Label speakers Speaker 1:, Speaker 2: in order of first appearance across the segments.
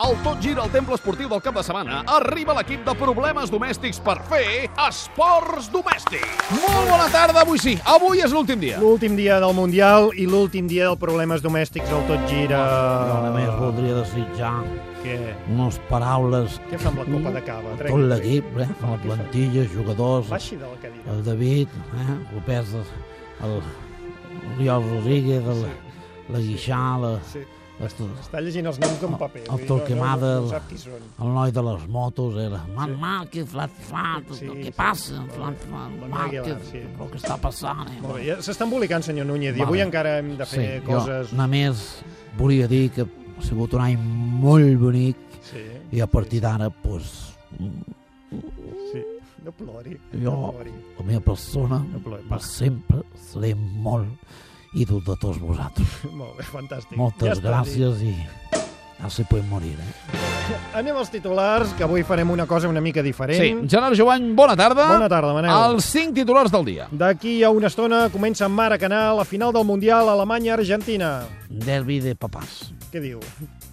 Speaker 1: Al Tot Gira al Temple Esportiu del cap de setmana arriba l'equip de problemes domèstics per fer esports domèstics. Molt bona tarda, avui sí. Avui és l'últim dia.
Speaker 2: L'últim dia del Mundial i l'últim dia dels problemes domèstics al Tot Gira.
Speaker 3: Jo només voldria desitjar
Speaker 2: Què?
Speaker 3: unes paraules
Speaker 2: Què fa amb la copa de cava?
Speaker 3: a tot
Speaker 2: Trenca-la.
Speaker 3: l'equip, eh? a la plantilla, jugadors,
Speaker 2: Baixi de la cadira.
Speaker 3: el David, eh? Lopez, el Oriol Rodríguez, el, la Guixà, la,
Speaker 2: Sí.
Speaker 3: la,
Speaker 2: Està llegint els noms d'un paper.
Speaker 3: El
Speaker 2: vull dir,
Speaker 3: Torquemada,
Speaker 2: No, no, no,
Speaker 3: el-
Speaker 2: sap qui són.
Speaker 3: el noi de les motos, eh? era Man Márquez, Flat Flat,
Speaker 2: Sí, sí.
Speaker 3: què passa? Flat Flat,
Speaker 2: Manuel Aguilar,
Speaker 3: Márquez,
Speaker 2: sí.
Speaker 3: el que està passant, eh?
Speaker 2: Molt bé, ja S'està embolicant, senyor Núñez, i
Speaker 3: Vale.
Speaker 2: avui encara hem de fer coses...
Speaker 3: jo només volia dir que ha sigut un any molt bonic
Speaker 2: Sí,
Speaker 3: i a partir d'ara, doncs,
Speaker 2: sí. No plori,
Speaker 3: Jo-
Speaker 2: no plori.
Speaker 3: la meva persona
Speaker 2: No plorem.
Speaker 3: per sempre seré molt ídol de tots vosaltres.
Speaker 2: Molt bé, fantàstic.
Speaker 3: Moltes
Speaker 2: està,
Speaker 3: gràcies i no se pueden morir. Eh?
Speaker 2: sí. Anem als titulars, que avui farem una cosa una mica diferent.
Speaker 1: Sí, Gerard Joan, bona tarda.
Speaker 2: Bona tarda, Manel.
Speaker 1: Els cinc titulars del dia.
Speaker 2: D'aquí a una estona comença en Maracanà la final del Mundial Alemanya-Argentina.
Speaker 3: Derbi de papàs.
Speaker 2: Què diu?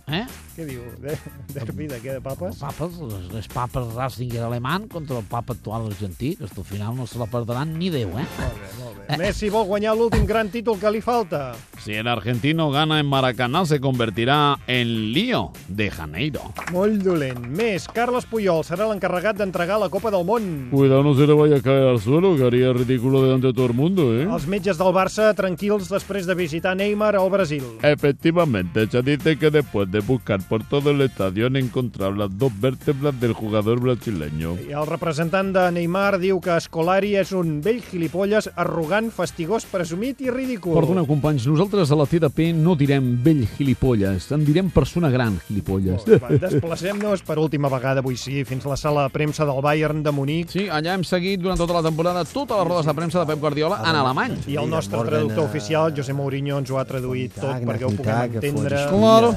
Speaker 3: Eh?
Speaker 2: Què diu? De, derbi de què? De papes?
Speaker 3: Papes, les, les papes Ratzinger alemán contra el papa actual argentí, que hasta el final no se la perdran ni Déu, eh?
Speaker 2: Molt bé, molt bé. Messi vol guanyar l'últim gran títol que li falta.
Speaker 1: Si el argentino gana en Maracaná, se convertirà en Lío de Janeiro.
Speaker 2: Molt dolent. Més, Carles Puyol serà l'encarregat d'entregar la Copa del Món.
Speaker 1: Cuidado, no se le vaya a caer al suelo, que haría ridículo delante de todo el mundo, ¿eh?
Speaker 2: Els metges del Barça tranquils després de visitar Neymar al Brasil.
Speaker 1: Eh. Efectivamente, ya dice que después de buscar por todo el estadio han encontrado las dos vértebras del jugador brasileño.
Speaker 2: I el representant de Neymar diu que Escolari és un vell gilipolles, arrogant, fastigós, presumit i ridícul.
Speaker 4: Perdoneu, companys, nosaltres a la TDP no direm vell gilipolles, en direm persona gran gilipolles.
Speaker 2: Molt bé, va, Desplacem-nos per última vegada avui sí fins a la sala de premsa del Bayern de Munic
Speaker 4: Sí, allà hem seguit durant tota la temporada totes les rodes de premsa de Pep Guardiola en alemany.
Speaker 2: i el nostre traductor oficial, Josep Mourinho, ens ho ha traduït tot perquè ho puguem entendre.
Speaker 1: Claro.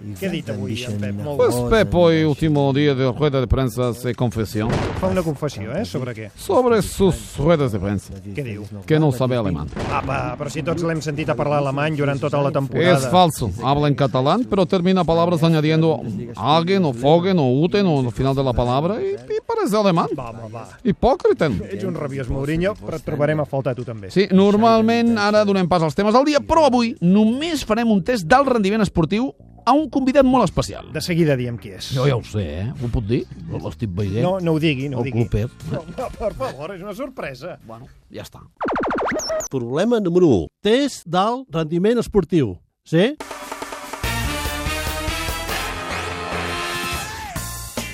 Speaker 2: Què ha dit avui, en Pep? Molt
Speaker 4: Pues Pep hoy, último día de rueda de prensa, se confesión
Speaker 2: Fa una confessió, eh? Sobre què?
Speaker 4: sobre sus ruedas de prensa,
Speaker 2: Què diu?
Speaker 4: que no sabe alemán.
Speaker 2: Apa, però si tots l'hem sentit a parlar alemany durant tota la
Speaker 4: Es
Speaker 2: temporada.
Speaker 4: falso, habla en catalán, pero termina palabras añadiendo hagen o fogen o uten o al final de la palabra y, y parece alemán.
Speaker 2: Va, va, va.
Speaker 4: Hipòcrita.
Speaker 2: Ets un rabiós, Mourinho, però et trobarem a faltar tu també.
Speaker 4: Sí, normalment ara donem pas als temes del dia, però avui només farem un test d'alt rendiment esportiu a un convidat molt especial.
Speaker 2: De seguida diem qui és.
Speaker 3: Jo ja ho sé, eh? Ho puc dir? L'estic
Speaker 5: eh?
Speaker 3: veient.
Speaker 2: No, no ho digui, no ho
Speaker 3: el
Speaker 2: digui.
Speaker 3: club Pep.
Speaker 2: No, no, per favor, és una sorpresa.
Speaker 3: Bueno, ja està.
Speaker 6: Problema número 1. Test d'alt rendiment esportiu. Sí?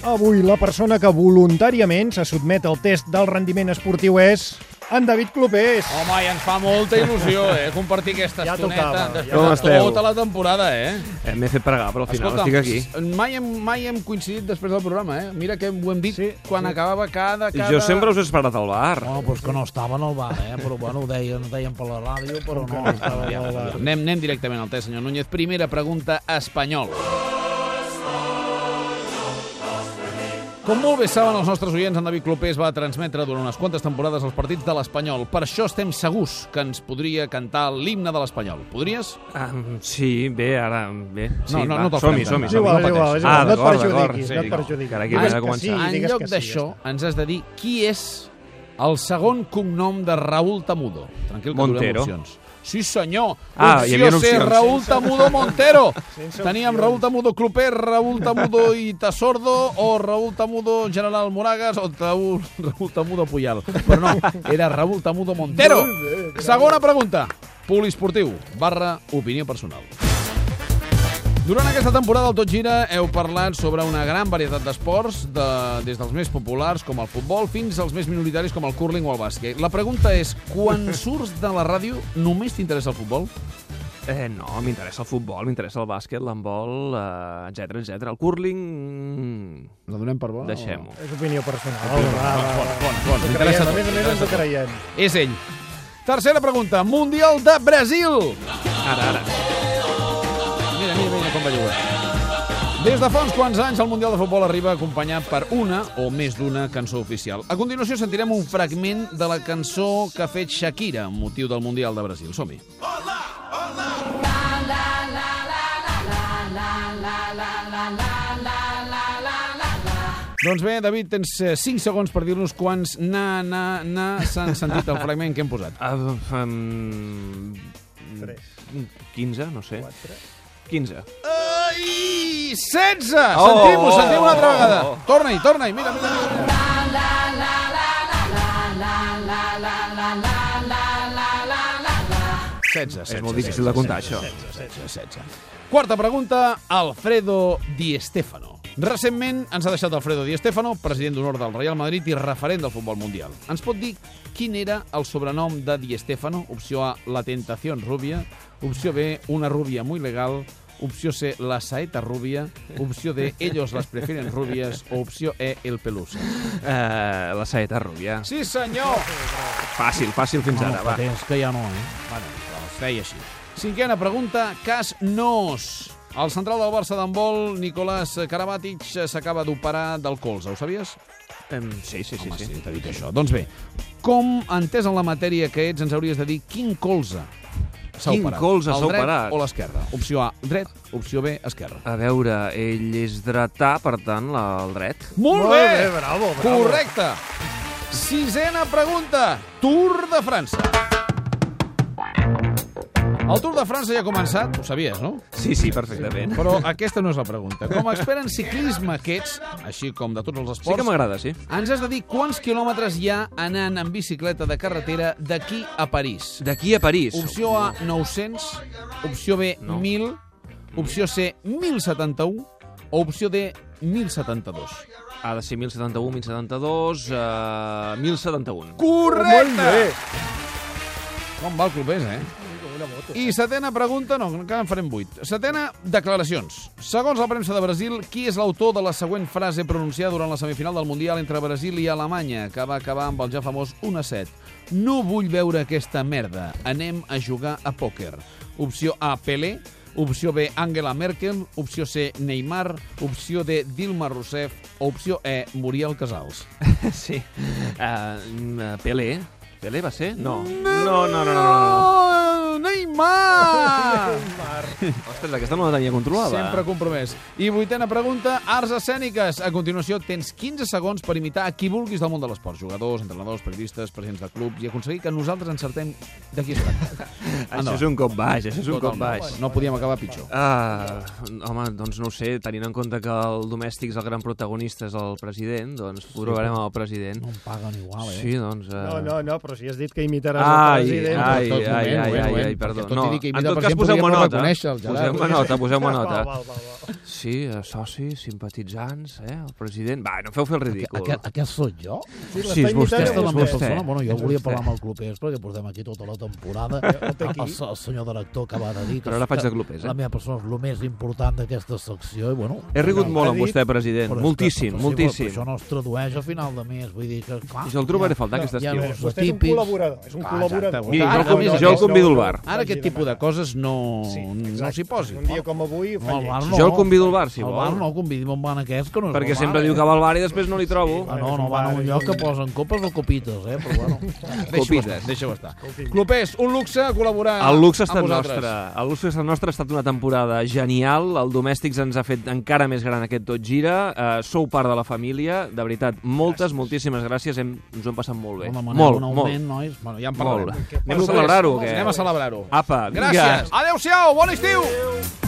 Speaker 2: Avui la persona que voluntàriament se sotmet al test del rendiment esportiu és en David Clopés.
Speaker 5: Home, i ens fa molta il·lusió, eh, compartir aquesta
Speaker 2: Ja
Speaker 5: estoneta
Speaker 2: tocava, ja
Speaker 5: després
Speaker 2: tocava.
Speaker 5: de
Speaker 7: Com esteu?
Speaker 5: tota la temporada, eh?
Speaker 7: Eh, M'he fet pregar, però al final
Speaker 5: Escolta'm,
Speaker 7: estic aquí.
Speaker 5: Mai hem, mai hem coincidit després del programa, eh? Mira que ho hem dit
Speaker 2: Sí,
Speaker 5: sí, quan
Speaker 2: sí.
Speaker 5: sí. acabava cada...
Speaker 7: I
Speaker 5: cada...
Speaker 7: jo sempre us he esperat al bar.
Speaker 3: Bueno, doncs que no estava en el bar, eh? Però bueno, ho deien, ho deien per la ràdio, però no estava en el bar.
Speaker 5: Anem, anem directament al test, senyor Núñez. Primera pregunta, espanyol. Com molt bé saben els nostres oients, en David Clopés va transmetre durant unes quantes temporades els partits de l'Espanyol. Per això estem segurs que ens podria cantar l'himne de l'Espanyol. Podries?
Speaker 7: Um, sí, bé, ara... Bé. Sí,
Speaker 5: No, no,
Speaker 7: va,
Speaker 5: no te'l
Speaker 7: Som-hi,
Speaker 5: prens,
Speaker 7: som-hi,
Speaker 2: És
Speaker 7: som-hi.
Speaker 2: igual, és igual, és igual.
Speaker 7: Ah,
Speaker 2: no et
Speaker 7: d'acord,
Speaker 2: perjudiquis,
Speaker 7: d'acord,
Speaker 2: no
Speaker 7: sí.
Speaker 2: et perjudiquis.
Speaker 7: Carai,
Speaker 2: Digues que
Speaker 7: que bé de començar.
Speaker 2: sí,
Speaker 5: Ah, en
Speaker 2: digues
Speaker 5: lloc
Speaker 2: que sí, ja
Speaker 5: d'això,
Speaker 2: està.
Speaker 5: ens has de dir qui és el segon cognom de Raúl Tamudo. Tranquil, que
Speaker 7: Montero.
Speaker 5: donem opcions. Sí, senyor.
Speaker 7: Ah,
Speaker 5: Opció
Speaker 7: hi havia
Speaker 5: C,
Speaker 7: opcions.
Speaker 5: Raúl Tamudo Montero.
Speaker 2: Sense
Speaker 5: Teníem
Speaker 2: opcions.
Speaker 5: Raúl Tamudo Cloper, Raúl Tamudo i Tasordo, o Raúl Tamudo General Moragas, o Raúl, Raúl Tamudo Puyal. Però no, era Raúl Tamudo Montero. Segona pregunta. Poliesportiu barra opinió personal. Durant aquesta temporada del Tot Gira heu parlat sobre una gran varietat d'esports, de, des dels més populars com el futbol fins als més minoritaris com el curling o el bàsquet. La pregunta és, quan surts de la ràdio només t'interessa el futbol?
Speaker 7: Eh, no, m'interessa el futbol, m'interessa el bàsquet, l'handbol, eh, etc etc. El curling... mm,
Speaker 5: La donem per bona?
Speaker 7: Deixem-ho.
Speaker 2: És opinió personal. Va, va, va.
Speaker 5: Bon, bon,
Speaker 2: Ho creiem,
Speaker 5: m'interessa
Speaker 2: a més a més ens ho creiem.
Speaker 5: tot. És ell. Tercera pregunta, Mundial de Brasil.
Speaker 7: Ara, ara.
Speaker 5: Mira, mira, mira com va jugar. Des de fa uns quants anys, el Mundial de Futbol arriba acompanyat per una o més d'una cançó oficial. A continuació sentirem un fragment de la cançó que ha fet Shakira amb motiu del Mundial de Brasil. Som-hi.
Speaker 8: La la la la la la la
Speaker 5: Doncs bé, David, tens 5 segons per dir-nos quants na, na, na s'han sentit el fragment que hem posat.
Speaker 7: Uh, um, 15, no sé. 15.
Speaker 5: Ai, 16! Oh, Sentim-ho, sentim una altra vegada. Oh, oh. Torna-hi, torna-hi, mira, mira. mira. Setze, setze,
Speaker 7: És molt difícil de comptar, això.
Speaker 5: 16. Quarta pregunta, Alfredo Di Stefano. Recentment ens ha deixat Alfredo Di Stefano, president d'honor del Real Madrid i referent del futbol mundial. Ens pot dir quin era el sobrenom de Di Stefano? Opció A, la tentación rubia. Opció B, una rubia muy legal. Opció C, la saeta rubia. Opció D, ellos las prefieren rubias. O opció E, el pelusa.
Speaker 7: Uh, la saeta rubia.
Speaker 5: Sí, senyor!
Speaker 7: Fàcil, fàcil fins ara, va.
Speaker 3: Patents que ja no, eh?
Speaker 5: Bueno, però es feia així. Cinquena pregunta, cas Nos. El central del Barça d'handbol, Nicolás Karabatic, s'acaba d'operar del colze, ho sabies?
Speaker 7: Um, sí, sí, sí.
Speaker 5: Home,
Speaker 7: sí.
Speaker 5: sí, t'ha dit això. Doncs bé, com entès en la matèria que ets, ens hauries de dir quin colze s'ha
Speaker 7: Quin
Speaker 5: operat.
Speaker 7: colze s'ha
Speaker 5: El dret
Speaker 7: operat?
Speaker 5: o l'esquerra? Opció A, dret, opció B, esquerra.
Speaker 7: A veure, ell és dretà, per tant, la, el dret.
Speaker 5: Molt,
Speaker 2: bé, bravo, bravo.
Speaker 5: Correcte. Sisena pregunta. Tour de França. El Tour de França ja ha començat, ho sabies, no?
Speaker 7: Sí, sí, perfectament.
Speaker 5: Però aquesta no és la pregunta. Com a expert en ciclisme que ets, així com de tots els
Speaker 7: Sí que
Speaker 5: esports,
Speaker 7: m'agrada, sí.
Speaker 5: ens has de dir quants quilòmetres hi ha anant en bicicleta de carretera d'aquí a París.
Speaker 7: D'aquí a París.
Speaker 5: Opció A, 900. Opció B,
Speaker 7: No.
Speaker 5: 1.000. Opció C, 1.071. O opció D, 1.072.
Speaker 7: Ha de ser 1071, 1072, uh, 1071.
Speaker 5: Correcte! Com va el clubers, eh? I setena pregunta, no, encara en farem vuit. Setena, declaracions. Segons la premsa de Brasil, qui és l'autor de la següent frase pronunciada durant la semifinal del Mundial entre Brasil i Alemanya, que va acabar amb el ja famós 1-7? No vull veure aquesta merda. Anem a jugar a pòquer. Opció A, Pelé. Opció B, Angela Merkel. Opció C, Neymar. Opció D, Dilma Rousseff. Opció E, Muriel Casals.
Speaker 7: Sí. Uh, Pelé. Pelé va ser? No. No, no, no, no. no.
Speaker 5: Oh, Neymar!
Speaker 7: Ostres, aquesta no la tenia controlada.
Speaker 5: Sempre compromès. I vuitena pregunta, arts escèniques. A continuació, tens 15 segons per imitar a qui vulguis del món de l'esport. Jugadors, entrenadors, periodistes, presidents de clubs i aconseguir que nosaltres encertem de qui es tracta.
Speaker 7: Això és un cop baix, això és un cop baix.
Speaker 5: No podíem acabar pitjor.
Speaker 7: Ah, home, doncs no ho sé, tenint en compte que el domèstic és el gran protagonista, és el president, doncs provarem el president.
Speaker 3: No em paguen igual, eh?
Speaker 7: Sí, doncs... eh,
Speaker 2: No, no, no, però si has dit que imitaràs
Speaker 7: Ai,
Speaker 2: el president... doncs-
Speaker 7: ai,
Speaker 5: Tot,
Speaker 7: ai,
Speaker 5: moment, moment,
Speaker 7: ai, ai,
Speaker 5: moment,
Speaker 7: ai,
Speaker 5: perquè
Speaker 7: perdó.
Speaker 5: tot i
Speaker 7: No,
Speaker 5: dir que imita
Speaker 7: en tot
Speaker 5: el
Speaker 7: cas
Speaker 5: president,
Speaker 7: poseu-me
Speaker 5: podríem no
Speaker 7: nota.
Speaker 5: reconèixer el Gerard.
Speaker 7: Poseu-me nota, poseu-me nota.
Speaker 2: Val, val, val, val.
Speaker 7: Sí, eh, socis, simpatitzants, eh, el president... Va, no feu fer el ridícul.
Speaker 3: Aquest, aquest sóc jo?
Speaker 7: Sí, és
Speaker 2: Aquesta
Speaker 3: Aquesta
Speaker 7: vostè,
Speaker 3: és
Speaker 7: és
Speaker 3: la meva
Speaker 7: vostè.
Speaker 3: persona. Bueno, jo volia parlar amb el clubers perquè portem aquí tota la temporada. El, el senyor director acaba de dir que,
Speaker 7: Però ara faig
Speaker 3: que
Speaker 7: de clubers, eh?
Speaker 3: la meva persona és el més important d'aquesta secció i, bueno...
Speaker 7: He rigut
Speaker 3: ja-
Speaker 7: molt amb
Speaker 2: dit,
Speaker 7: vostè, president.
Speaker 3: però és que- però
Speaker 7: Moltíssim,
Speaker 3: sí, però
Speaker 7: moltíssim.
Speaker 3: Això no es tradueix a final de mes, vull dir que, clar...
Speaker 7: Jo el trobaré a faltar aquest
Speaker 3: ja
Speaker 7: estiu.
Speaker 3: no és
Speaker 2: Vostè és un
Speaker 3: atípics.
Speaker 2: col·laborador, és un
Speaker 5: Ah,
Speaker 2: col·laborador.
Speaker 5: exacte.
Speaker 7: Miri, jo el
Speaker 2: Ah,
Speaker 7: convido-
Speaker 2: no,
Speaker 7: jo el
Speaker 2: no, no,
Speaker 7: convido al
Speaker 2: no,
Speaker 7: bar.
Speaker 2: no,
Speaker 5: Ara aquest tipus de coses no
Speaker 2: Sí,
Speaker 5: no
Speaker 2: exacte.
Speaker 5: s'hi posin.
Speaker 2: Un dia com avui
Speaker 3: No,
Speaker 2: fa
Speaker 3: al
Speaker 2: lleig.
Speaker 3: bar no.
Speaker 7: Jo el convido al bar, si
Speaker 3: al bar
Speaker 7: vol.
Speaker 3: no, convidim un bar en aquest, que no és
Speaker 7: Perquè
Speaker 3: el bar,
Speaker 7: sempre
Speaker 3: eh?
Speaker 7: diu que va al bar i després no l'hi trobo.
Speaker 3: Ah, no, no van a un lloc que posen copes o copites, eh? Però bueno,
Speaker 5: Deixa-ho estar,
Speaker 7: Copites.
Speaker 5: deixa estar. Clopés, un luxe col·laborar
Speaker 7: El luxe ha
Speaker 5: amb
Speaker 7: estat
Speaker 5: Ah, vosaltres.
Speaker 7: nostre. El luxe ha estat nostre, ha estat una temporada genial. El Domèstics ens ha fet encara més gran aquest tot gira. Uh, sou part de la família. De veritat, moltes, moltíssimes gràcies. Hem, ens ho hem passat molt bé.
Speaker 3: demanem
Speaker 7: Molt,
Speaker 3: un
Speaker 7: molt.
Speaker 3: augment, nois. Bueno, ja
Speaker 5: Ja en
Speaker 7: molt.
Speaker 5: parlarem.
Speaker 7: Anem a celebrar-ho, o què?
Speaker 5: Anem a celebrar-ho.
Speaker 7: Apa, vinga.
Speaker 5: Gràcies. Adéu-siau, bon estiu.